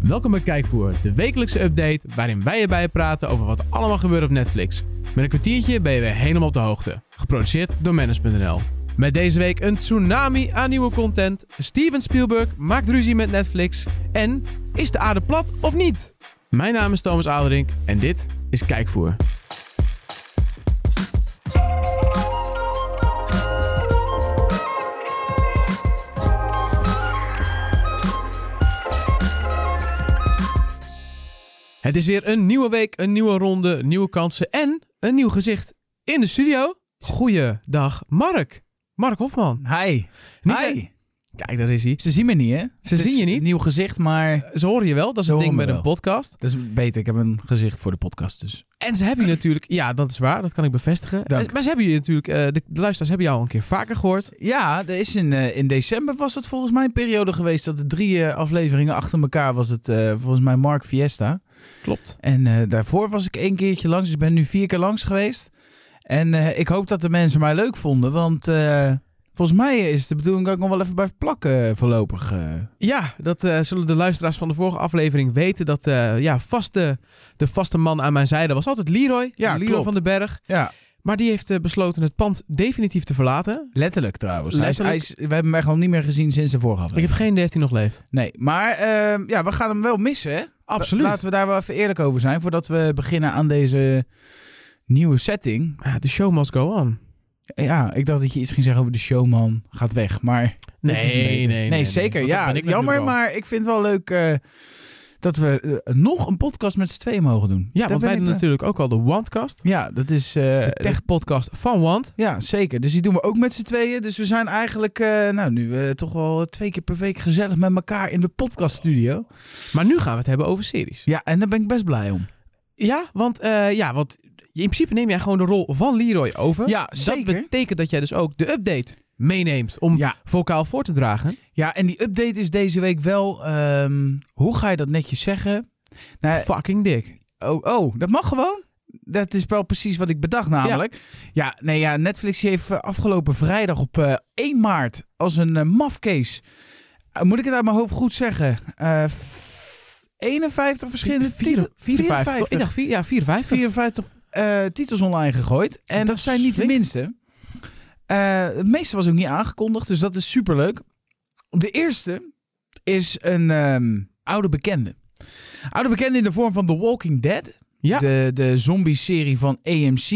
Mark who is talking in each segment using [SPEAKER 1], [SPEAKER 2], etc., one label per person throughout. [SPEAKER 1] Welkom bij Kijkvoer, de wekelijkse update waarin wij erbij praten over wat allemaal gebeurt op Netflix. Met een kwartiertje ben je weer helemaal op de hoogte. Geproduceerd door Manage.nl. Met deze week een tsunami aan nieuwe content. Steven Spielberg maakt ruzie met Netflix. En is de aarde plat of niet? Mijn naam is Thomas Aderink en dit is Kijkvoer. Het is weer een nieuwe week, een nieuwe ronde, nieuwe kansen en een nieuw gezicht in de studio. Goeiedag, Mark. Mark Hofman.
[SPEAKER 2] Hi.
[SPEAKER 1] Niet
[SPEAKER 2] Hi.
[SPEAKER 1] Kijk, daar is hij.
[SPEAKER 2] Ze zien me niet, hè? Ze
[SPEAKER 1] zien je niet?
[SPEAKER 2] Nieuw gezicht, maar
[SPEAKER 1] Ze horen je wel, dat is
[SPEAKER 2] Ze
[SPEAKER 1] een ding
[SPEAKER 2] horen me
[SPEAKER 1] met een
[SPEAKER 2] wel.
[SPEAKER 1] podcast.
[SPEAKER 2] dat is beter. Ik heb een gezicht voor de podcast, dus.
[SPEAKER 1] En ze hebben je natuurlijk, ja, dat is waar, dat kan ik bevestigen.
[SPEAKER 2] Dank.
[SPEAKER 1] En- Maar ze hebben je natuurlijk, eh, de, de luisteraars hebben jou al een keer vaker gehoord.
[SPEAKER 2] Ja, er is in, eh, in december was het volgens mij een periode geweest dat de drie eh, afleveringen achter elkaar was het eh, volgens mij Mark Fiesta.
[SPEAKER 1] Klopt.
[SPEAKER 2] En eh, daarvoor was ik één keertje langs, dus ik ben nu vier keer langs geweest. En eh, ik hoop dat de mensen mij leuk vonden, want eh, volgens mij is de bedoeling dat ik nog wel even bij plakken voorlopig. eh.
[SPEAKER 1] Ja, dat eh, zullen de luisteraars van de vorige aflevering weten. Dat eh, ja, vaste, de vaste man aan mijn zijde was altijd Leroy.
[SPEAKER 2] Ja,
[SPEAKER 1] Leroy
[SPEAKER 2] klopt.
[SPEAKER 1] van den Berg.
[SPEAKER 2] ja,
[SPEAKER 1] Maar die heeft eh, besloten het pand definitief te verlaten.
[SPEAKER 2] letterlijk trouwens. Hij is-
[SPEAKER 1] Letterlijk.
[SPEAKER 2] hij is- we hebben hem gewoon niet meer gezien sinds de vorige
[SPEAKER 1] Ik
[SPEAKER 2] aflevering.
[SPEAKER 1] heb geen idee of hij nog leeft.
[SPEAKER 2] Nee, maar ehm, ja, we gaan hem wel missen, hè?
[SPEAKER 1] Absoluut.
[SPEAKER 2] Laten we daar wel even eerlijk over zijn voordat we beginnen aan deze nieuwe setting.
[SPEAKER 1] Ah, De show must go on.
[SPEAKER 2] Ja, ik dacht dat je iets ging zeggen over de showman gaat weg, maar dit is een beter. zeker.
[SPEAKER 1] Want dat
[SPEAKER 2] Ja,
[SPEAKER 1] ben ik
[SPEAKER 2] jammer,
[SPEAKER 1] natuurlijk al.
[SPEAKER 2] maar ik vind het wel leuk eh, dat we eh, nog een podcast met z'n tweeën mogen doen.
[SPEAKER 1] Ja,
[SPEAKER 2] Daar
[SPEAKER 1] want
[SPEAKER 2] ben
[SPEAKER 1] wij
[SPEAKER 2] ik
[SPEAKER 1] doen
[SPEAKER 2] wel-
[SPEAKER 1] natuurlijk ook al de Wantcast.
[SPEAKER 2] Ja, dat is eh,
[SPEAKER 1] De tech-podcast van Want.
[SPEAKER 2] Ja, zeker. Dus die doen we ook met z'n tweeën. Dus we zijn eigenlijk eh, nou, nu eh, toch wel twee keer per week gezellig met elkaar in de podcaststudio.
[SPEAKER 1] Maar nu gaan we het hebben over series.
[SPEAKER 2] Ja, en daar ben ik best blij om.
[SPEAKER 1] Ja, want, eh, ja, want in principe neem jij gewoon de rol van Leroy over.
[SPEAKER 2] Ja,
[SPEAKER 1] Dat
[SPEAKER 2] zeker.
[SPEAKER 1] betekent dat jij dus ook de update meeneemt om
[SPEAKER 2] Ja.
[SPEAKER 1] vocaal voor te dragen.
[SPEAKER 2] Ja, en die update is deze week wel. ehm, hoe ga je dat netjes zeggen? Nou,
[SPEAKER 1] Fucking dik.
[SPEAKER 2] oh, oh, dat mag gewoon. Dat is wel precies wat ik bedacht, namelijk. Ja, nee, ja Netflix heeft eh, afgelopen vrijdag op eh, 1 maart als een eh, mafcase. eh, moet ik het uit mijn hoofd goed zeggen? Eh, f- 51 verschillende titels.
[SPEAKER 1] 54. Ik dacht vier- ja, 54.
[SPEAKER 2] 54 eh, titels online gegooid. En dat,
[SPEAKER 1] Dat
[SPEAKER 2] zijn niet de
[SPEAKER 1] flink.
[SPEAKER 2] minste. Eh, het meeste was ook niet aangekondigd, dus dat is superleuk. De eerste is een ehm, oude bekende. Oude bekende in de vorm van The Walking Dead.
[SPEAKER 1] Ja.
[SPEAKER 2] De, de zombie-serie van AMC.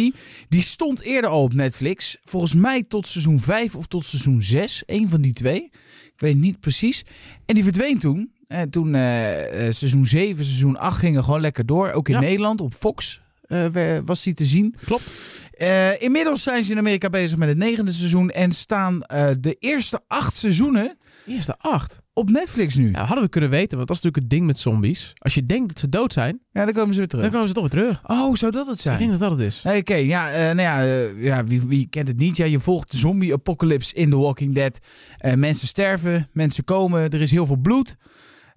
[SPEAKER 2] Die stond eerder al op Netflix. Volgens mij tot seizoen 5 of tot seizoen 6. Eén van die twee. Ik weet niet precies. En die verdween toen. En toen eh, eh, seizoen 7, seizoen 8 gingen gewoon lekker door. Ook in
[SPEAKER 1] Ja.
[SPEAKER 2] Nederland op Fox eh, we- was die te zien.
[SPEAKER 1] Klopt.
[SPEAKER 2] Eh, inmiddels zijn ze in Amerika bezig met het negende seizoen. En staan eh, de eerste acht seizoenen
[SPEAKER 1] Eerste acht.
[SPEAKER 2] op Netflix nu.
[SPEAKER 1] Ja,
[SPEAKER 2] Ja,
[SPEAKER 1] dat hadden we kunnen weten, want dat is natuurlijk het ding met zombies. Als je denkt dat ze dood zijn,
[SPEAKER 2] dan komen ze weer
[SPEAKER 1] dan
[SPEAKER 2] terug.
[SPEAKER 1] komen ze toch weer terug.
[SPEAKER 2] Oh, zou dat het zijn?
[SPEAKER 1] Ik denk dat dat het is.
[SPEAKER 2] Nee, Oké, ja, eh, nou ja, eh, ja wie, wie kent het niet? Ja, je volgt de zombie-apocalypse in The Walking Dead. Eh, mensen sterven, mensen komen, er is heel veel bloed.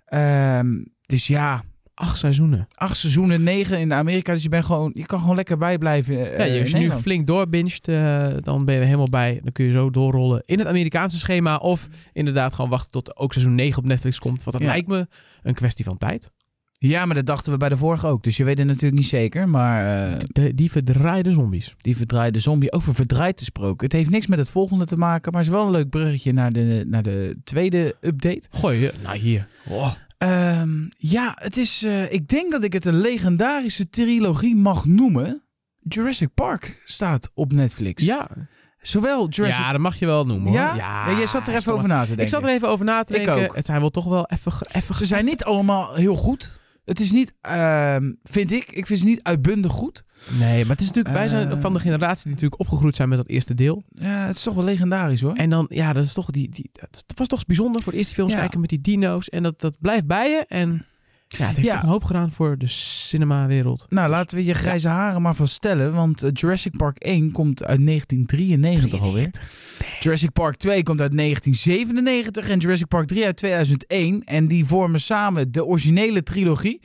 [SPEAKER 2] Ehm, dus ja,
[SPEAKER 1] Acht seizoenen.
[SPEAKER 2] acht seizoenen, negen in Amerika. Dus je, bent gewoon, je kan gewoon lekker bijblijven. eh,
[SPEAKER 1] ja,
[SPEAKER 2] in
[SPEAKER 1] als je nu
[SPEAKER 2] Nederland.
[SPEAKER 1] flink doorbingt, eh, dan ben je er helemaal bij. Dan kun je zo doorrollen in het Amerikaanse schema. Of inderdaad gewoon wachten tot ook seizoen 9 op Netflix komt. Want dat
[SPEAKER 2] Ja.
[SPEAKER 1] lijkt me een kwestie van tijd.
[SPEAKER 2] Ja, maar dat dachten we bij de vorige ook. Dus je weet het natuurlijk niet zeker. Maar eh,
[SPEAKER 1] De, die verdraaide zombies.
[SPEAKER 2] die verdraaide zombie, over verdraaid te gesproken. Het heeft niks met het volgende te maken. Maar is wel een leuk bruggetje naar de, naar de tweede update.
[SPEAKER 1] Gooi je. Nou, hier.
[SPEAKER 2] Oh. Ehm, ja, het is. eh, ik denk dat ik het een legendarische trilogie mag noemen. Jurassic Park staat op Netflix.
[SPEAKER 1] Ja.
[SPEAKER 2] Zowel Jurassic.
[SPEAKER 1] ja, dat mag je wel noemen hoor.
[SPEAKER 2] Ja? Ja, jij zat er even
[SPEAKER 1] stomme.
[SPEAKER 2] over na te denken.
[SPEAKER 1] Ik zat er even over na te
[SPEAKER 2] Ik
[SPEAKER 1] denken.
[SPEAKER 2] ook.
[SPEAKER 1] Het zijn wel toch wel even... ge- even
[SPEAKER 2] Ze zijn niet allemaal heel goed. Het is niet, ehm, vind ik, ik vind ze niet uitbundig goed.
[SPEAKER 1] Nee, maar het is natuurlijk, wij zijn
[SPEAKER 2] Eh.
[SPEAKER 1] van de generatie die natuurlijk opgegroeid zijn met dat eerste deel.
[SPEAKER 2] Ja, het is toch wel legendarisch hoor.
[SPEAKER 1] En dan, ja, dat is toch die, die dat was toch bijzonder voor de eerste films
[SPEAKER 2] Ja.
[SPEAKER 1] kijken met die dino's. En dat, dat blijft bij je. En ja, het heeft
[SPEAKER 2] Ja.
[SPEAKER 1] toch een hoop gedaan voor de cinemawereld.
[SPEAKER 2] Nou, laten we je grijze haren maar van stellen. Want eh, Jurassic Park 1 komt uit 1993 alweer. Jurassic Park 2 komt uit 1997 en Jurassic Park 3 uit 2001. En die vormen samen de originele trilogie.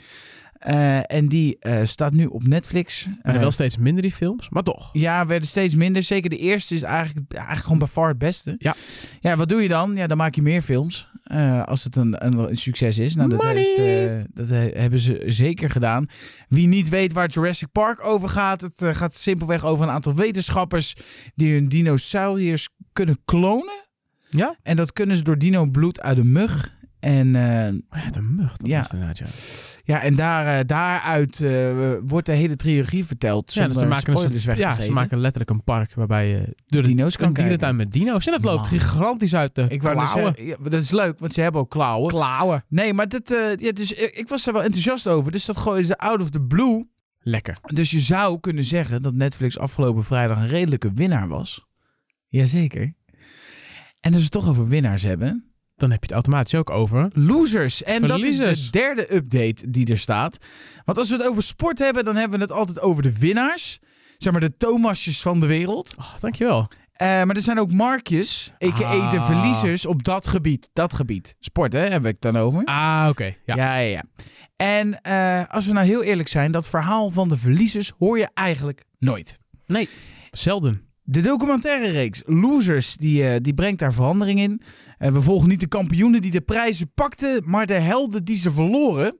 [SPEAKER 2] Eh, en die eh, staat nu op Netflix.
[SPEAKER 1] Maar
[SPEAKER 2] Eh,
[SPEAKER 1] wel steeds minder die films, maar toch.
[SPEAKER 2] Ja, werden steeds minder. Zeker de eerste is eigenlijk, eigenlijk gewoon bij far het beste.
[SPEAKER 1] Ja.
[SPEAKER 2] Ja, wat doe je dan? Ja, dan maak je meer films. eh, als het een, een, een succes is. Nou, dat,
[SPEAKER 1] Money.
[SPEAKER 2] heeft, eh, dat he- hebben ze zeker gedaan. Wie niet weet waar Jurassic Park over gaat, het eh, gaat simpelweg over een aantal wetenschappers die hun dinosauriërs kunnen klonen.
[SPEAKER 1] Ja?
[SPEAKER 2] En dat kunnen ze door dino-bloed uit een mug. En eh,
[SPEAKER 1] Oh ja, de mug, dat
[SPEAKER 2] Ja.
[SPEAKER 1] was het inderdaad, ja.
[SPEAKER 2] ja, en daar, eh, daaruit eh, wordt de hele trilogie
[SPEAKER 1] Ja,
[SPEAKER 2] verteld. Zonder
[SPEAKER 1] dus ze maken, een
[SPEAKER 2] spoilers
[SPEAKER 1] soort-
[SPEAKER 2] weg te
[SPEAKER 1] ja, ze
[SPEAKER 2] geven.
[SPEAKER 1] maken letterlijk een park waarbij je door de
[SPEAKER 2] dino's kan
[SPEAKER 1] een
[SPEAKER 2] kijken.
[SPEAKER 1] dierentuin met dino's. En dat loopt
[SPEAKER 2] Man.
[SPEAKER 1] gigantisch uit de
[SPEAKER 2] Ik wou net
[SPEAKER 1] klauwen.
[SPEAKER 2] zeggen, ja, dat is leuk, want ze hebben ook klauwen.
[SPEAKER 1] klauwen.
[SPEAKER 2] nee, maar dit, eh, ja, dus, ik, ik was daar wel enthousiast over. Dus dat gooien ze out of the blue.
[SPEAKER 1] Lekker.
[SPEAKER 2] Dus je zou kunnen zeggen dat Netflix afgelopen vrijdag een redelijke winnaar was. Jazeker. En als we het toch over winnaars hebben.
[SPEAKER 1] Dan heb je het automatisch ook over.
[SPEAKER 2] Losers. En dat is
[SPEAKER 1] Verliezers.
[SPEAKER 2] de derde update die er staat. Want als we het over sport hebben, dan hebben we het altijd over de winnaars. Zeg maar de Thomasjes van de wereld.
[SPEAKER 1] Oh, dankjewel.
[SPEAKER 2] Eh, maar er zijn ook Markjes, a.k.a. de
[SPEAKER 1] Ah.
[SPEAKER 2] verliezers op dat gebied. Dat gebied. Sport, hè, hebben we het dan over.
[SPEAKER 1] Ah, oké. Ja.
[SPEAKER 2] Ja, ja, ja. En eh, als we nou heel eerlijk zijn, dat verhaal van de verliezers hoor je eigenlijk nooit.
[SPEAKER 1] Nee, zelden.
[SPEAKER 2] De documentaire reeks Losers, die, eh, die brengt daar verandering in. Eh, we volgen niet de kampioenen die de prijzen pakten, maar de helden die ze verloren.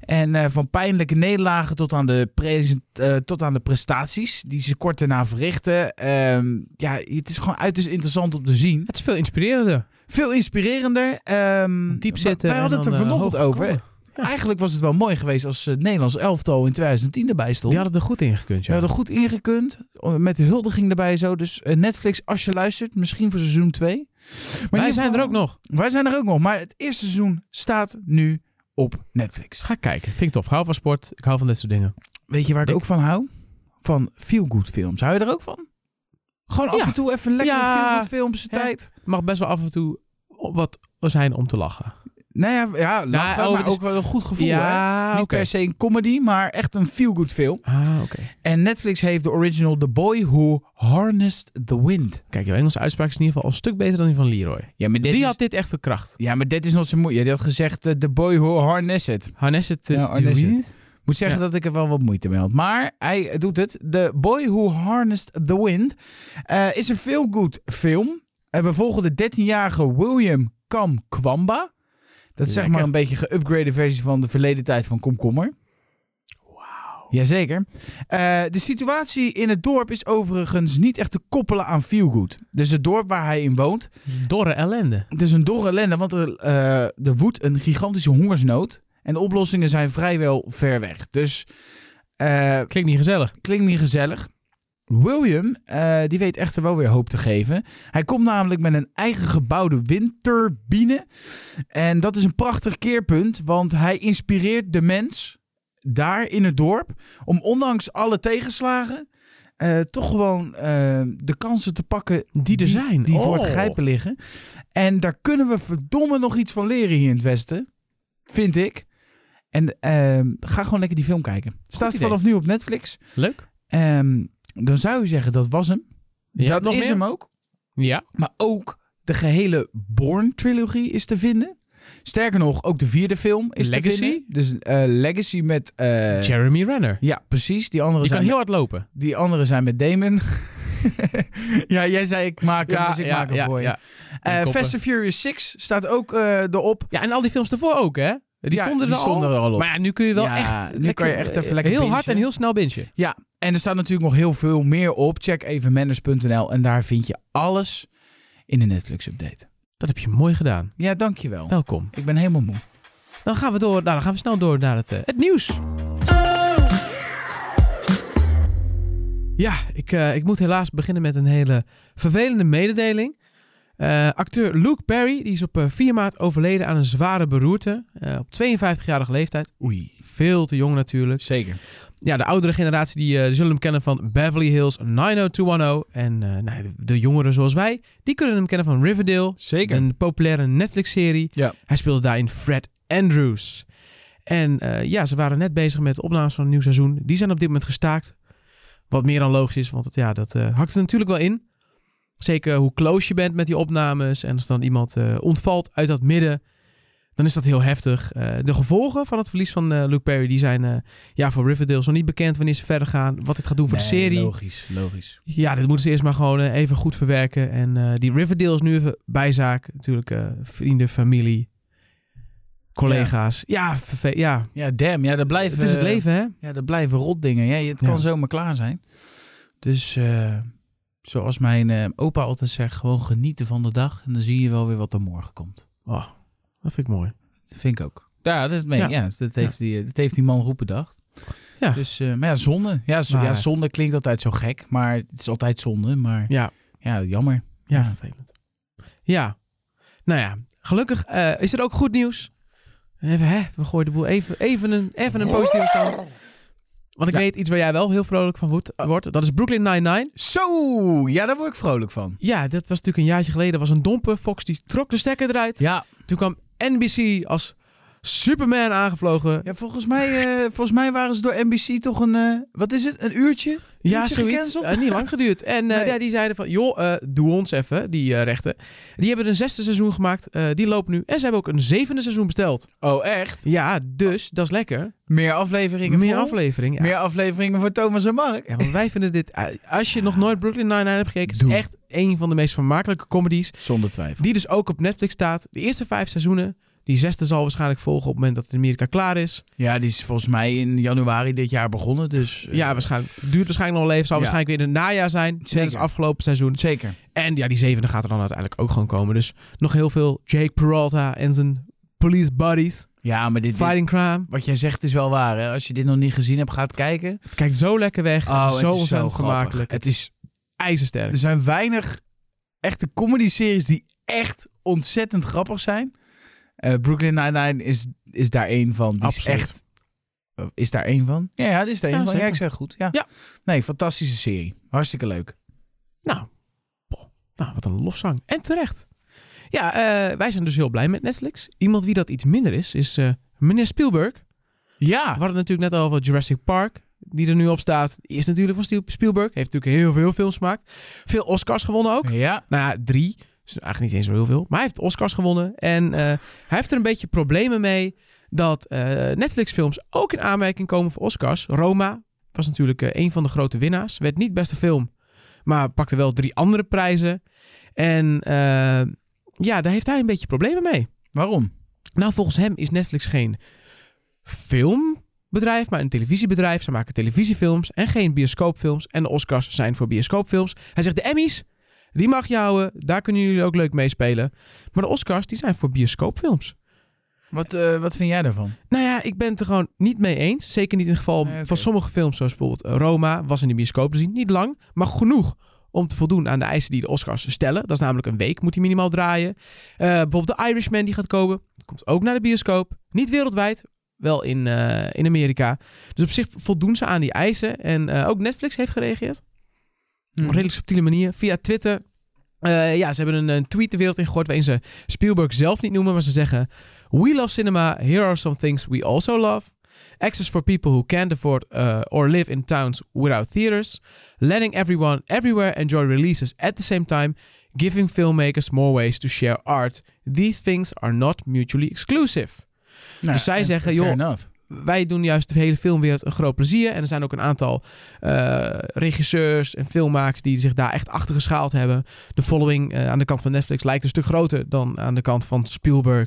[SPEAKER 2] En eh, van pijnlijke nederlagen tot aan, de present- eh, tot aan de prestaties die ze kort daarna verrichten. Ehm, ja, het is gewoon uiterst interessant om te zien.
[SPEAKER 1] Het is veel inspirerender.
[SPEAKER 2] Veel inspirerender. ehm,
[SPEAKER 1] Diep zitten.
[SPEAKER 2] Wij hadden
[SPEAKER 1] en
[SPEAKER 2] het er
[SPEAKER 1] dan, eh,
[SPEAKER 2] vanochtend
[SPEAKER 1] hoog
[SPEAKER 2] over.
[SPEAKER 1] komen.
[SPEAKER 2] Eigenlijk was het wel mooi geweest als het Nederlands elftal in 2010 erbij stond.
[SPEAKER 1] Die hadden er goed in gekund,
[SPEAKER 2] Ze
[SPEAKER 1] ja.
[SPEAKER 2] hadden goed ingekund, eh, met de huldiging erbij zo. Dus eh, Netflix, als je luistert, misschien voor seizoen 2.
[SPEAKER 1] Wij zijn er ook nog.
[SPEAKER 2] Wij zijn er ook nog, maar het eerste seizoen staat nu op Netflix.
[SPEAKER 1] Ga kijken. Vind ik tof. Hou van sport. Ik hou van dit soort dingen.
[SPEAKER 2] Weet je waar ik,
[SPEAKER 1] Ik-
[SPEAKER 2] ook van hou? Van feel-good films. Hou je er ook van? Gewoon af
[SPEAKER 1] Ja.
[SPEAKER 2] en toe even lekkere
[SPEAKER 1] Ja.
[SPEAKER 2] feel-good films de
[SPEAKER 1] Hè?
[SPEAKER 2] tijd.
[SPEAKER 1] Mag best wel af en toe wat zijn om te lachen.
[SPEAKER 2] Nou ja, ja, lachen,
[SPEAKER 1] oh,
[SPEAKER 2] maar
[SPEAKER 1] het is-
[SPEAKER 2] ook wel een goed gevoel. hè?
[SPEAKER 1] ja,
[SPEAKER 2] Niet
[SPEAKER 1] oké.
[SPEAKER 2] per se een comedy, maar echt een feel-good film.
[SPEAKER 1] Ah, oké.
[SPEAKER 2] En Netflix heeft de original The Boy Who Harnessed the Wind.
[SPEAKER 1] Kijk, jouw Engelse uitspraak is in ieder geval een stuk beter dan die van Leroy.
[SPEAKER 2] Ja, maar dit
[SPEAKER 1] die
[SPEAKER 2] is-
[SPEAKER 1] had dit echt verkracht.
[SPEAKER 2] Ja, maar dit is nog zo moeilijk. Je had gezegd, eh, The Boy Who Harness It.
[SPEAKER 1] Harness het eh,
[SPEAKER 2] Ja,
[SPEAKER 1] ja,
[SPEAKER 2] harness it. Moet zeggen
[SPEAKER 1] Ja.
[SPEAKER 2] dat ik er wel wat moeite mee had. Maar hij doet het. The Boy Who Harnessed the Wind eh, is een veel goed film. En we volgen de 13-jarige William Kam Kwamba. Dat is zeg
[SPEAKER 1] Lekker.
[SPEAKER 2] maar een beetje een geüpgrade versie van de verleden tijd van Komkommer. Wauw. Jazeker. Eh, de situatie in het dorp is overigens niet echt te koppelen aan Feelgood. Dus het dorp waar hij in woont
[SPEAKER 1] Dorre ellende.
[SPEAKER 2] het is een dorre ellende, want er, eh, er woedt een gigantische hongersnood. En de oplossingen zijn vrijwel ver weg. Dus eh,
[SPEAKER 1] Klinkt niet gezellig.
[SPEAKER 2] klinkt niet gezellig. William, eh, die weet echter wel weer hoop te geven. Hij komt namelijk met een eigen gebouwde windturbine. En dat is een prachtig keerpunt, want hij inspireert de mens daar in het dorp om ondanks alle tegenslagen eh, toch gewoon eh, de kansen te pakken
[SPEAKER 1] Die er zijn.
[SPEAKER 2] die voor
[SPEAKER 1] Oh.
[SPEAKER 2] het grijpen liggen. En daar kunnen we verdomme nog iets van leren hier in het Westen. Vind ik. En ehm, ga gewoon lekker die film kijken. Staat
[SPEAKER 1] idee.
[SPEAKER 2] vanaf nu op Netflix.
[SPEAKER 1] Leuk.
[SPEAKER 2] Ehm, dan zou je zeggen, dat was hem.
[SPEAKER 1] Ja,
[SPEAKER 2] dat
[SPEAKER 1] nog
[SPEAKER 2] is
[SPEAKER 1] meer?
[SPEAKER 2] hem ook.
[SPEAKER 1] Ja.
[SPEAKER 2] Maar ook de gehele Born-trilogie is te vinden. Sterker nog, ook de vierde film is
[SPEAKER 1] Legacy?
[SPEAKER 2] te vinden. Dus eh, Legacy met... eh,
[SPEAKER 1] Jeremy Renner.
[SPEAKER 2] ja, precies. Die andere,
[SPEAKER 1] Je kan
[SPEAKER 2] zijn,
[SPEAKER 1] heel hard lopen.
[SPEAKER 2] die andere zijn met Damon. ja, jij zei ik maak hem, dus ik maak hem
[SPEAKER 1] ja,
[SPEAKER 2] voor je.
[SPEAKER 1] ja.
[SPEAKER 2] Eh,
[SPEAKER 1] Koppen.
[SPEAKER 2] Fast and Furious 6 staat ook eh, erop.
[SPEAKER 1] Ja, en al die films daarvoor ook, hè? Die
[SPEAKER 2] Ja,
[SPEAKER 1] stonden er
[SPEAKER 2] die
[SPEAKER 1] al.
[SPEAKER 2] stonden er al op.
[SPEAKER 1] Maar ja, nu kun je wel
[SPEAKER 2] Ja,
[SPEAKER 1] echt...
[SPEAKER 2] nu kan je echt even
[SPEAKER 1] eh,
[SPEAKER 2] lekker
[SPEAKER 1] Heel hard
[SPEAKER 2] bingen.
[SPEAKER 1] en heel snel bingen.
[SPEAKER 2] Ja, en er staat natuurlijk nog heel veel meer op. Check even manners.nl en daar vind je alles in de Netflix-update.
[SPEAKER 1] Dat heb je mooi gedaan.
[SPEAKER 2] Ja, dankjewel.
[SPEAKER 1] Welkom.
[SPEAKER 2] Ik ben helemaal moe.
[SPEAKER 1] Dan gaan we, door, nou, dan gaan we snel door naar het, eh, het nieuws. Ja, ik, eh, ik moet helaas beginnen met een hele vervelende mededeling. Eh, acteur Luke Perry die is op eh, 4 maart overleden aan een zware beroerte. eh, op 52-jarige leeftijd.
[SPEAKER 2] Oei.
[SPEAKER 1] Veel te jong natuurlijk.
[SPEAKER 2] Zeker.
[SPEAKER 1] Ja, de oudere generatie die eh, zullen hem kennen van Beverly Hills 90210. En eh, nou, de, de jongeren zoals wij, die kunnen hem kennen van Riverdale.
[SPEAKER 2] Zeker.
[SPEAKER 1] Een populaire Netflix-serie.
[SPEAKER 2] Ja.
[SPEAKER 1] Hij speelde daarin Fred Andrews. En eh, ja, ze waren net bezig met de opnames van een nieuw seizoen. Die zijn op dit moment gestaakt. Wat meer dan logisch is, want het, ja, dat eh, hakt er natuurlijk wel in. Zeker hoe close je bent met die opnames. En als dan iemand eh, ontvalt uit dat midden, dan is dat heel heftig. Eh, de gevolgen van het verlies van eh, Luke Perry die zijn eh, ja, voor Riverdale nog niet bekend wanneer ze verder gaan. Wat dit gaat doen voor de serie.
[SPEAKER 2] Logisch, logisch.
[SPEAKER 1] Ja, dit moeten ze eerst maar gewoon eh, even goed verwerken. En eh, die Riverdale is nu even bijzaak. Natuurlijk eh, vrienden, familie, collega's. Ja, verve- ja.
[SPEAKER 2] Ja, damn. Ja, dat blijven,
[SPEAKER 1] het is het leven hè.
[SPEAKER 2] Ja, dat blijven rotdingen. Ja, het
[SPEAKER 1] Ja.
[SPEAKER 2] kan zomaar klaar zijn. Dus eh, zoals mijn eh, opa altijd zegt, gewoon genieten van de dag. En dan zie je wel weer wat er morgen komt.
[SPEAKER 1] Oh, dat vind ik mooi.
[SPEAKER 2] Dat vind ik ook. Ja, dat, meen ik. ja. dus dat, heeft, die, eh, dat heeft die man goed bedacht.
[SPEAKER 1] Ja.
[SPEAKER 2] Dus, eh, maar ja, zonde. Ja, zo- ja,
[SPEAKER 1] Waarheid.
[SPEAKER 2] zonde klinkt altijd zo gek. Maar het is altijd zonde. Maar
[SPEAKER 1] Ja,
[SPEAKER 2] ja, jammer.
[SPEAKER 1] ja,
[SPEAKER 2] Ja.
[SPEAKER 1] vervelend. Ja, nou ja, gelukkig eh, is er ook goed nieuws. Even, hè, we gooien de boel even, even, een, even een positieve kant. Want ik
[SPEAKER 2] Ja.
[SPEAKER 1] weet iets waar jij wel heel vrolijk van wordt. wordt. Dat is Brooklyn Nine-Nine.
[SPEAKER 2] Zo! Ja, daar word ik vrolijk van.
[SPEAKER 1] Ja, dat was natuurlijk een jaartje geleden. Er was een domper. Fox die trok de stekker eruit.
[SPEAKER 2] Ja,
[SPEAKER 1] Toen kwam NBC als Superman aangevlogen.
[SPEAKER 2] Ja, volgens mij, eh, volgens mij waren ze door NBC toch een, eh, wat is het, een uurtje?
[SPEAKER 1] Ja,
[SPEAKER 2] Uurtje
[SPEAKER 1] zoiets.
[SPEAKER 2] gecanceld?
[SPEAKER 1] Eh, niet lang geduurd. En eh,
[SPEAKER 2] Nee.
[SPEAKER 1] ja, die zeiden van, joh, eh, doe ons even, die eh, rechten. Die hebben een zesde seizoen gemaakt. eh, die loopt nu. En ze hebben ook een zevende seizoen besteld.
[SPEAKER 2] Oh, echt?
[SPEAKER 1] Ja, dus dat is lekker.
[SPEAKER 2] Meer afleveringen
[SPEAKER 1] Meer
[SPEAKER 2] voor ons?
[SPEAKER 1] afleveringen. Ja.
[SPEAKER 2] Meer afleveringen voor Thomas en Mark.
[SPEAKER 1] Ja, want wij vinden dit... eh, Als je nog nooit Brooklyn Nine-Nine hebt gekeken... is het
[SPEAKER 2] Doe.
[SPEAKER 1] echt een van de meest vermakelijke comedies.
[SPEAKER 2] Zonder twijfel.
[SPEAKER 1] Die dus ook op Netflix staat. De eerste vijf seizoenen. Die zesde zal waarschijnlijk volgen op het moment dat het in Amerika klaar is.
[SPEAKER 2] Ja, die is volgens mij in januari dit jaar begonnen, dus... eh,
[SPEAKER 1] Ja, waarschijnlijk, duurt waarschijnlijk nog wel even. Zal
[SPEAKER 2] Ja.
[SPEAKER 1] waarschijnlijk weer in het najaar zijn. Zeker. Net als
[SPEAKER 2] Zeker.
[SPEAKER 1] afgelopen seizoen.
[SPEAKER 2] Zeker.
[SPEAKER 1] En ja, die zevende gaat er dan uiteindelijk ook gewoon komen. Dus nog heel veel Jake Peralta en zijn police buddies.
[SPEAKER 2] Ja, maar dit, dit-
[SPEAKER 1] Fighting crime.
[SPEAKER 2] wat jij zegt is wel waar, hè? Als je dit nog niet gezien hebt, gaat kijken.
[SPEAKER 1] Het kijkt zo lekker weg. Oh, het is zo ontzettend
[SPEAKER 2] grappig.
[SPEAKER 1] gemakkelijk.
[SPEAKER 2] Het is,
[SPEAKER 1] IJzersterk.
[SPEAKER 2] er zijn weinig echte comedy-series die echt ontzettend grappig zijn. Eh, Brooklyn Nine-Nine is, is daar één van. Die
[SPEAKER 1] Absoluut.
[SPEAKER 2] is echt... eh, Is daar één van? Ja, ja, dit is daar één
[SPEAKER 1] Ja,
[SPEAKER 2] van.
[SPEAKER 1] zeker.
[SPEAKER 2] Ja, ik zeg goed. Ja.
[SPEAKER 1] Ja.
[SPEAKER 2] Nee, fantastische serie. Hartstikke leuk.
[SPEAKER 1] Nou, poh, nou, wat een lofzang. En terecht. Ja, eh, wij zijn dus heel blij met Netflix. Iemand wie dat iets minder is, is eh, meneer Spielberg. Ah,
[SPEAKER 2] Ja.
[SPEAKER 1] We hadden het natuurlijk net al over Jurassic Park, die er nu op staat. Is natuurlijk van Spiel- Spielberg. Heeft natuurlijk heel veel films gemaakt. Veel Oscars gewonnen ook.
[SPEAKER 2] Ja.
[SPEAKER 1] Nou ja, drie. Dus eigenlijk niet eens zo heel veel. Maar hij heeft Oscars gewonnen. En eh, hij heeft er een beetje problemen mee dat eh, Netflix-films ook in aanmerking komen voor Oscars. Roma was natuurlijk eh, een van de grote winnaars. Werd niet beste film, maar pakte wel drie andere prijzen. En eh, ja, daar heeft hij een beetje problemen mee.
[SPEAKER 2] Waarom?
[SPEAKER 1] Nou, volgens hem is Netflix geen filmbedrijf, maar een televisiebedrijf. Ze maken televisiefilms en geen bioscoopfilms. En de Oscars zijn voor bioscoopfilms. Hij zegt de Emmys, die mag je houden. Daar kunnen jullie ook leuk mee spelen. Maar de Oscars, die zijn voor bioscoopfilms.
[SPEAKER 2] Wat, eh, wat vind jij daarvan?
[SPEAKER 1] Nou ja, ik ben het er gewoon niet mee eens. Zeker niet in het geval
[SPEAKER 2] Nee, oké.
[SPEAKER 1] van sommige films, zoals bijvoorbeeld eh, Roma, was in de bioscoop te zien. Niet lang, maar genoeg om te voldoen aan de eisen die de Oscars stellen. Dat is namelijk een week, moet hij minimaal draaien. Eh, bijvoorbeeld de Irishman die gaat komen, komt ook naar de bioscoop. Niet wereldwijd, wel in, eh, in Amerika. Dus op zich voldoen ze aan die eisen. En eh, ook Netflix heeft gereageerd. Op een redelijk subtiele manier. Via Twitter. Eh, ja, ze hebben een, een tweet de wereld ingegooid waarin ze Spielberg zelf niet noemen, maar ze zeggen: We love cinema. Here are some things we also love. Access for people who can't afford uh, or live in towns without theaters. Letting everyone everywhere enjoy releases at the same time. Giving filmmakers more ways to share art. These things are not mutually exclusive
[SPEAKER 2] Nou,
[SPEAKER 1] Dus zij
[SPEAKER 2] eh,
[SPEAKER 1] zeggen,
[SPEAKER 2] fair
[SPEAKER 1] joh,
[SPEAKER 2] enough.
[SPEAKER 1] wij doen juist de hele filmwereld een groot plezier. En er zijn ook een aantal eh, regisseurs en filmmakers die zich daar echt achter geschaald hebben. De following eh, aan de kant van Netflix lijkt een stuk groter dan aan de kant van Spielberg.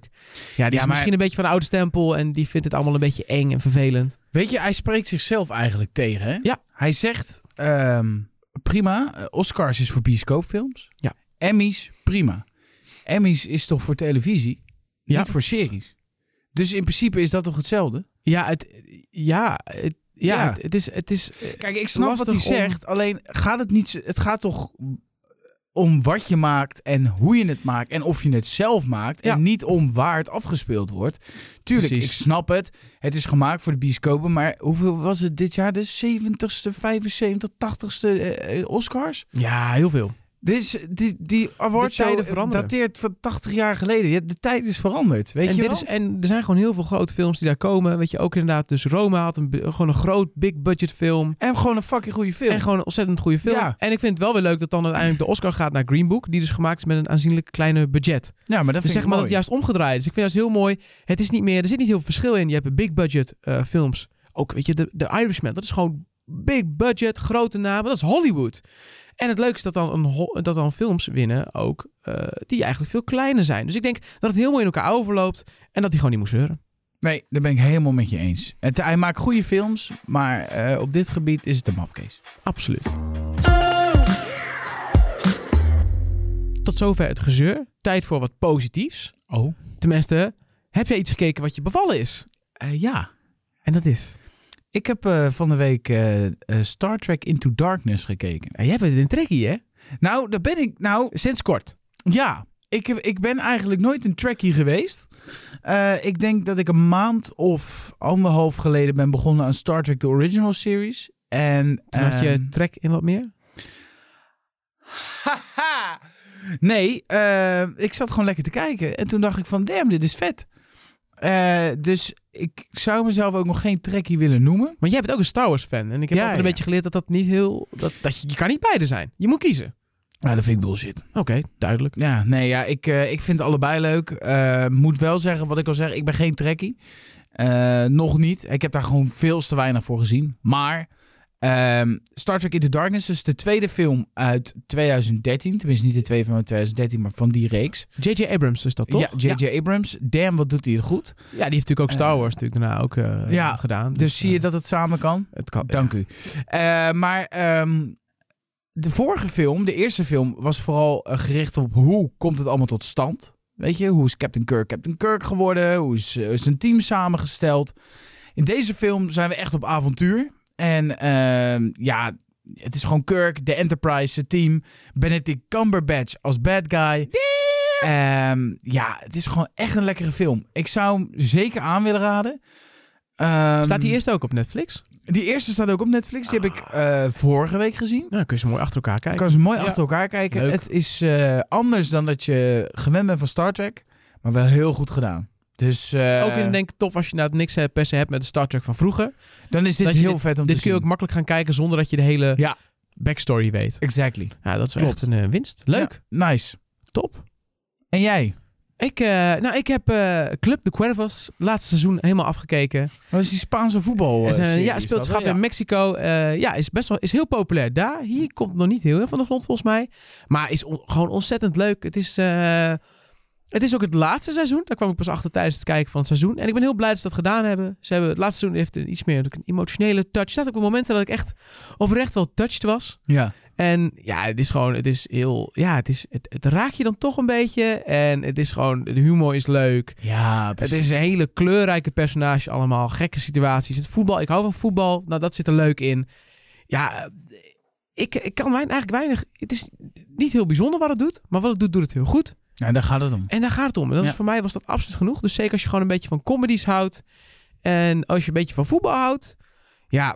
[SPEAKER 1] Ja, die is
[SPEAKER 2] maar-
[SPEAKER 1] misschien een beetje van de oude stempel en die vindt het allemaal een beetje eng en vervelend.
[SPEAKER 2] Weet je, hij spreekt zichzelf eigenlijk tegen, hè?
[SPEAKER 1] Ja.
[SPEAKER 2] Hij zegt, ehm, prima, eh, Oscars is voor bioscoopfilms.
[SPEAKER 1] Ja.
[SPEAKER 2] Emmys, prima. Emmys is toch voor televisie,
[SPEAKER 1] Ja.
[SPEAKER 2] niet voor series. Dus in principe is dat toch hetzelfde?
[SPEAKER 1] Ja, het, ja, het, ja,
[SPEAKER 2] Ja.
[SPEAKER 1] Het, het is... Het is eh,
[SPEAKER 2] Kijk, ik snap wat hij
[SPEAKER 1] Lastig om-
[SPEAKER 2] zegt, alleen gaat het niet... z- Het gaat toch om wat je maakt en hoe je het maakt en of je het zelf maakt
[SPEAKER 1] Ja.
[SPEAKER 2] en niet om waar het afgespeeld wordt. Tuurlijk,
[SPEAKER 1] Precies.
[SPEAKER 2] ik snap het. Het is gemaakt voor de bioscopen, maar hoeveel was het dit jaar? De 70ste, 75ste, 80ste eh, eh, Oscars?
[SPEAKER 1] ja, heel veel.
[SPEAKER 2] Dus die, die awardshow
[SPEAKER 1] tijden veranderen.
[SPEAKER 2] dateert van 80 jaar geleden. Ja, de tijd is veranderd, weet
[SPEAKER 1] en,
[SPEAKER 2] je
[SPEAKER 1] dit
[SPEAKER 2] wel?
[SPEAKER 1] is, en er zijn gewoon heel veel grote films die daar komen. Weet je, ook inderdaad. Dus Roma had een, be- gewoon een groot big budget film.
[SPEAKER 2] En gewoon een fucking goede film.
[SPEAKER 1] En gewoon een ontzettend goede film.
[SPEAKER 2] Ja.
[SPEAKER 1] En ik vind het wel weer leuk dat dan uiteindelijk de Oscar gaat naar Green Book. Die dus gemaakt is met een aanzienlijk kleiner budget.
[SPEAKER 2] ja, maar dat
[SPEAKER 1] Dus
[SPEAKER 2] vind
[SPEAKER 1] zeg
[SPEAKER 2] ik
[SPEAKER 1] maar dat
[SPEAKER 2] mooi.
[SPEAKER 1] het juist omgedraaid is. Ik vind dat heel mooi. Het is niet meer, er zit niet heel veel verschil in. Je hebt big budget eh, films. Ook weet je, de, de Irishman, dat is gewoon big budget, grote namen. Dat is Hollywood. En het leuke is dat dan, een, ho- dat dan films winnen ook eh, die eigenlijk veel kleiner zijn. Dus ik denk dat het heel mooi in elkaar overloopt en dat die gewoon niet moest zeuren.
[SPEAKER 2] Nee, daar ben ik helemaal met je eens. Het, hij maakt goede films, maar eh, op dit gebied is het een mafkees.
[SPEAKER 1] Absoluut. Tot zover het gezeur. Tijd voor wat positiefs.
[SPEAKER 2] Oh?
[SPEAKER 1] Tenminste, heb jij iets gekeken wat je bevallen is?
[SPEAKER 2] Eh, ja.
[SPEAKER 1] En dat is.
[SPEAKER 2] Ik heb eh, van de week eh, eh, Star Trek Into Darkness gekeken.
[SPEAKER 1] Ja, jij bent een trekkie, hè?
[SPEAKER 2] Nou, daar ben ik... Nou,
[SPEAKER 1] Sinds kort.
[SPEAKER 2] Ja, ik, heb- ik ben eigenlijk nooit een trekkie geweest. Eh, ik denk dat ik een maand of anderhalf geleden ben begonnen aan Star Trek The Original Series. En
[SPEAKER 1] Toen had
[SPEAKER 2] ehm,
[SPEAKER 1] je trek in wat meer?
[SPEAKER 2] haha. nee, eh, ik zat gewoon lekker te kijken. En toen dacht ik van, damn, dit is vet. Eh, dus ik zou mezelf ook nog geen trekkie willen noemen.
[SPEAKER 1] Want jij bent ook een Star Wars fan. En ik heb
[SPEAKER 2] Ja,
[SPEAKER 1] altijd een
[SPEAKER 2] ja.
[SPEAKER 1] beetje geleerd dat dat niet heel... Dat, dat je, je kan niet beide zijn. Je moet kiezen.
[SPEAKER 2] Nou, dat vind ik bullshit.
[SPEAKER 1] Oké, duidelijk.
[SPEAKER 2] Ja, nee, ja, ik, eh, ik vind allebei leuk. Eh, moet wel zeggen, wat ik al zeg, ik ben geen trekkie. Eh, nog niet. Ik heb daar gewoon veel te weinig voor gezien. Maar ehm, Star Trek Into Darkness is de tweede film uit 2013. Tenminste, niet de tweede film uit 2013, maar van die reeks.
[SPEAKER 1] J.J. Abrams is dat toch?
[SPEAKER 2] Ja, J.J. Abrams. Damn, wat doet hij het goed.
[SPEAKER 1] Ja, die heeft natuurlijk ook Star Wars natuurlijk daarna ook eh,
[SPEAKER 2] ja,
[SPEAKER 1] gedaan.
[SPEAKER 2] Dus zie je
[SPEAKER 1] eh,
[SPEAKER 2] dat het samen kan?
[SPEAKER 1] Het kan,
[SPEAKER 2] Dank u. Eh, maar ehm, de vorige film, de eerste film, was vooral eh, gericht op hoe komt het allemaal tot stand. Weet je, hoe is Captain Kirk Captain Kirk geworden? Hoe is, eh, zijn team samengesteld? In deze film zijn we echt op avontuur. En ehm, ja, het is gewoon Kirk, de Enterprise, het team. Benedict Cumberbatch als bad guy. Ehm, ja, het is gewoon echt een lekkere film. Ik zou hem zeker aan willen raden. Ehm,
[SPEAKER 1] Staat die eerst ook op Netflix?
[SPEAKER 2] die eerste staat ook op Netflix. Die heb ik eh, vorige week gezien.
[SPEAKER 1] Nou, dan kun je ze mooi achter elkaar
[SPEAKER 2] Ik
[SPEAKER 1] kijken.
[SPEAKER 2] kan ze mooi
[SPEAKER 1] Ah. Ja.
[SPEAKER 2] achter elkaar kijken.
[SPEAKER 1] Leuk.
[SPEAKER 2] Het is eh, anders dan dat je gewend bent van Star Trek. Maar wel heel goed gedaan. Dus eh,
[SPEAKER 1] ook in, denk ik, tof als je nou niks eh, per se hebt met de Star Trek van vroeger.
[SPEAKER 2] dan is dit
[SPEAKER 1] dat je
[SPEAKER 2] heel vet om
[SPEAKER 1] Dit
[SPEAKER 2] te
[SPEAKER 1] kun je
[SPEAKER 2] zien.
[SPEAKER 1] ook makkelijk gaan kijken zonder dat je de hele
[SPEAKER 2] Ja.
[SPEAKER 1] backstory weet.
[SPEAKER 2] Exactly.
[SPEAKER 1] Ja, dat is wel
[SPEAKER 2] Klopt.
[SPEAKER 1] echt een eh, winst. Leuk.
[SPEAKER 2] Ja, nice.
[SPEAKER 1] Top.
[SPEAKER 2] En jij?
[SPEAKER 1] Ik, eh, nou, ik heb eh, Club de Cuervos laatste seizoen helemaal afgekeken.
[SPEAKER 2] Wat is die Spaanse voetbal?
[SPEAKER 1] Is
[SPEAKER 2] eh,
[SPEAKER 1] een-
[SPEAKER 2] serie,
[SPEAKER 1] ja,
[SPEAKER 2] is
[SPEAKER 1] speelt
[SPEAKER 2] dat,
[SPEAKER 1] zich af
[SPEAKER 2] hè? Ja.
[SPEAKER 1] in Mexico. Eh, ja, is best wel is heel populair daar. Hier komt nog niet heel veel van de grond volgens mij. Maar is on- gewoon ontzettend leuk. Het is, eh, het is ook het laatste seizoen. Daar kwam ik pas achter tijdens het kijken van het seizoen. En ik ben heel blij dat ze dat gedaan hebben. Ze hebben het laatste seizoen heeft een, iets meer een emotionele touch. Er zaten ook wel momenten dat ik echt oprecht wel touched was.
[SPEAKER 2] Ja.
[SPEAKER 1] En ja, het is gewoon, het is heel, ja, het, is, het, het raakt je dan toch een beetje. En het is gewoon, de humor is leuk.
[SPEAKER 2] Ja,
[SPEAKER 1] Het
[SPEAKER 2] precies.
[SPEAKER 1] is een hele kleurrijke personage allemaal. Gekke situaties. Het voetbal, ik hou van voetbal. Nou, dat zit er leuk in. Ja, eh, ik, ik kan wein- eigenlijk weinig... Het is niet heel bijzonder wat het doet. Maar wat het doet, doet het heel goed.
[SPEAKER 2] Ja, daar gaat het om.
[SPEAKER 1] En daar gaat het om. En dat is
[SPEAKER 2] Ja.
[SPEAKER 1] voor mij was dat absoluut genoeg. Dus zeker als je gewoon een beetje van comedies houdt. En als je een beetje van voetbal houdt. Ja,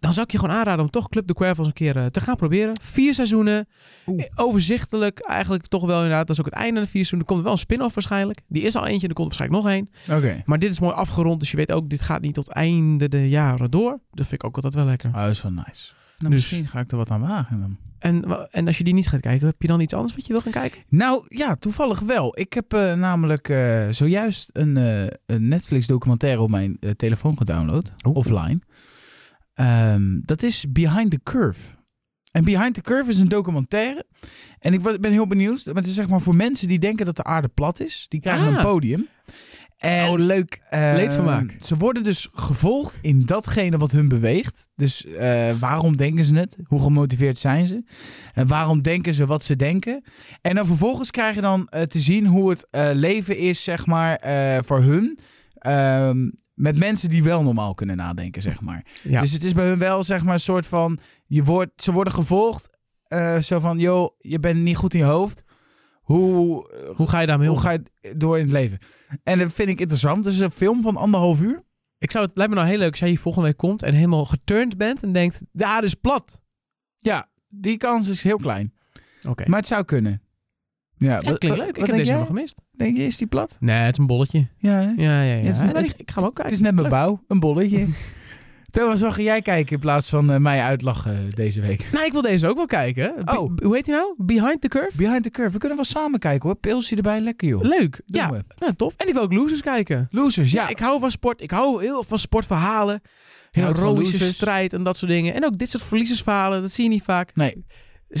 [SPEAKER 1] dan zou ik je gewoon aanraden om toch Club de Quervels een keer eh, te gaan proberen. Vier seizoenen.
[SPEAKER 2] Oeh.
[SPEAKER 1] Eh, Overzichtelijk eigenlijk toch wel inderdaad. Dat is ook het einde van de vier seizoenen. Er komt wel een spin-off waarschijnlijk. Die is al eentje en er komt waarschijnlijk nog één.
[SPEAKER 2] Oké.
[SPEAKER 1] Maar dit is mooi afgerond. Dus je weet ook, dit gaat niet tot einde de jaren door. Dat vind ik ook altijd wel lekker.
[SPEAKER 2] Oh, is wel nice. Nou,
[SPEAKER 1] Dus-
[SPEAKER 2] Misschien ga ik er wat aan wagen dan.
[SPEAKER 1] En, wa- en als je die niet gaat kijken, heb je dan iets anders wat je wil gaan kijken?
[SPEAKER 2] Nou ja, toevallig wel. Ik heb eh, namelijk eh, zojuist een, eh, een Netflix-documentaire op mijn eh, telefoon gedownload, offline. Ehm, dat is Behind the Curve. En Behind the Curve is een documentaire. En ik wa- ben heel benieuwd. Maar het is zeg maar voor mensen die denken dat de aarde plat is. Die krijgen
[SPEAKER 1] Ah.
[SPEAKER 2] een podium. En,
[SPEAKER 1] Oh,
[SPEAKER 2] leuk.
[SPEAKER 1] Leedvermaak.
[SPEAKER 2] Ze worden dus gevolgd in datgene wat hun beweegt. Dus eh, waarom denken ze het? Hoe gemotiveerd zijn ze? En waarom denken ze wat ze denken? En dan vervolgens krijg je dan eh, te zien hoe het eh, leven is, zeg maar, eh, voor hun. Ehm, met mensen die wel normaal kunnen nadenken, zeg maar.
[SPEAKER 1] Ja.
[SPEAKER 2] Dus het is bij hun wel, zeg maar, een soort van... Je wordt, ze worden gevolgd. eh, zo van, joh, je bent niet goed in je hoofd. Hoe,
[SPEAKER 1] Hoe ga je daarmee om?
[SPEAKER 2] hoe ga je door in het leven? En dat vind ik interessant. Het is een film van anderhalf uur.
[SPEAKER 1] Ik zou het lijkt me nou heel leuk als jij hier volgende week komt en helemaal geturnd bent en denkt, de aarde is plat.
[SPEAKER 2] Ja, die kans is heel klein.
[SPEAKER 1] Oké.
[SPEAKER 2] Maar het zou kunnen. Ja,
[SPEAKER 1] Ja, klinkt leuk. Ik heb deze nog gemist.
[SPEAKER 2] Denk je, is die plat?
[SPEAKER 1] Nee, het is een bolletje.
[SPEAKER 2] Ja, hè?
[SPEAKER 1] Ja, ja, ja.
[SPEAKER 2] Ja, het is net-
[SPEAKER 1] Nee, ik, ik ga hem ook
[SPEAKER 2] Het
[SPEAKER 1] kijken.
[SPEAKER 2] is net mijn
[SPEAKER 1] Leuk.
[SPEAKER 2] bouw, een bolletje. Thomas, wat ga jij kijken in plaats van eh, mij uitlachen deze week?
[SPEAKER 1] Nou, ik wil deze ook wel kijken. Be-
[SPEAKER 2] Oh.
[SPEAKER 1] Hoe heet die nou? Behind the Curve?
[SPEAKER 2] Behind the Curve, we kunnen wel samen kijken hoor. Pilsje erbij, lekker joh.
[SPEAKER 1] Leuk.
[SPEAKER 2] Doen
[SPEAKER 1] ja,
[SPEAKER 2] we.
[SPEAKER 1] nou, tof. En ik wil ook Losers kijken.
[SPEAKER 2] Losers, ja.
[SPEAKER 1] Ja, ik hou van sport. Ik hou heel van sportverhalen.
[SPEAKER 2] houdt van
[SPEAKER 1] Heroïsche
[SPEAKER 2] losers.
[SPEAKER 1] strijd en dat soort dingen. En ook dit soort verliezersverhalen, dat zie je niet vaak.
[SPEAKER 2] Nee,
[SPEAKER 1] Dat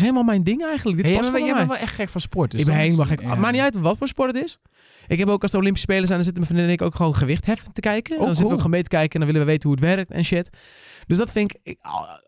[SPEAKER 1] is helemaal mijn ding eigenlijk. Dit
[SPEAKER 2] Hey, jij,
[SPEAKER 1] past
[SPEAKER 2] bent, wel-
[SPEAKER 1] wel bij
[SPEAKER 2] jij bent
[SPEAKER 1] mij.
[SPEAKER 2] wel echt gek van sport. Dus
[SPEAKER 1] Ik ben
[SPEAKER 2] dan is-
[SPEAKER 1] helemaal gek.
[SPEAKER 2] ja.
[SPEAKER 1] Maakt niet uit wat voor sport het is. Ik heb ook als de Olympische Spelen zijn, dan zitten mijn vriendin en ik ook gewoon gewicht heffen te kijken. En dan
[SPEAKER 2] Oh,
[SPEAKER 1] zitten we
[SPEAKER 2] cool.
[SPEAKER 1] ook gewoon mee te kijken en dan willen we weten hoe het werkt en shit. Dus dat vind ik, ik-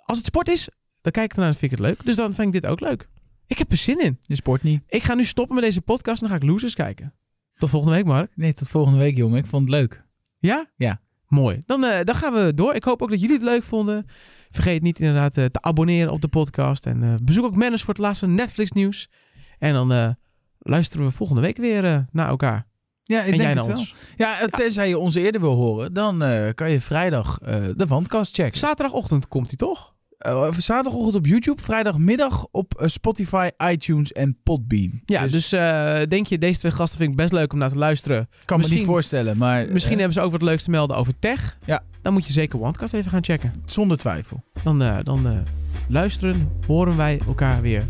[SPEAKER 1] als het sport is, dan kijk ik ernaar en vind ik het leuk. Dus dan vind ik dit ook leuk. Ik heb er zin in.
[SPEAKER 2] Je sport niet.
[SPEAKER 1] Ik ga nu stoppen met deze podcast en dan ga ik losers kijken. Tot volgende week, Mark.
[SPEAKER 2] Nee, tot volgende week jongen. Ik vond het leuk.
[SPEAKER 1] Ja?
[SPEAKER 2] Ja.
[SPEAKER 1] Mooi. Dan, eh, dan gaan we door. Ik hoop ook dat jullie het leuk vonden. Vergeet niet inderdaad eh, te abonneren op de podcast. En eh, bezoek ook Manus voor het laatste Netflix nieuws. En dan eh, luisteren we volgende week weer eh, naar elkaar.
[SPEAKER 2] Ja, ik
[SPEAKER 1] en
[SPEAKER 2] denk
[SPEAKER 1] jij
[SPEAKER 2] het
[SPEAKER 1] naar
[SPEAKER 2] wel.
[SPEAKER 1] ons.
[SPEAKER 2] Ja, eh, tenzij je ons eerder wil horen, dan eh, kan je vrijdag eh, de Wandkast checken.
[SPEAKER 1] Zaterdagochtend komt hij toch?
[SPEAKER 2] Eh, zaterdagochtend op YouTube, vrijdagmiddag op eh, Spotify, iTunes en Podbean.
[SPEAKER 1] Ja, dus, eh, denk je, deze twee gasten vind ik best leuk om naar te luisteren.
[SPEAKER 2] kan me
[SPEAKER 1] misschien-
[SPEAKER 2] niet voorstellen, maar eh,
[SPEAKER 1] Misschien hebben ze ook wat leuks te melden over tech.
[SPEAKER 2] Ja.
[SPEAKER 1] Dan moet je zeker OneCast even gaan checken.
[SPEAKER 2] eh, zonder twijfel.
[SPEAKER 1] Dan, eh, dan eh, luisteren, horen wij elkaar weer.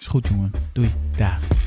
[SPEAKER 2] Is goed, jongen.
[SPEAKER 1] Doei.
[SPEAKER 2] Dag.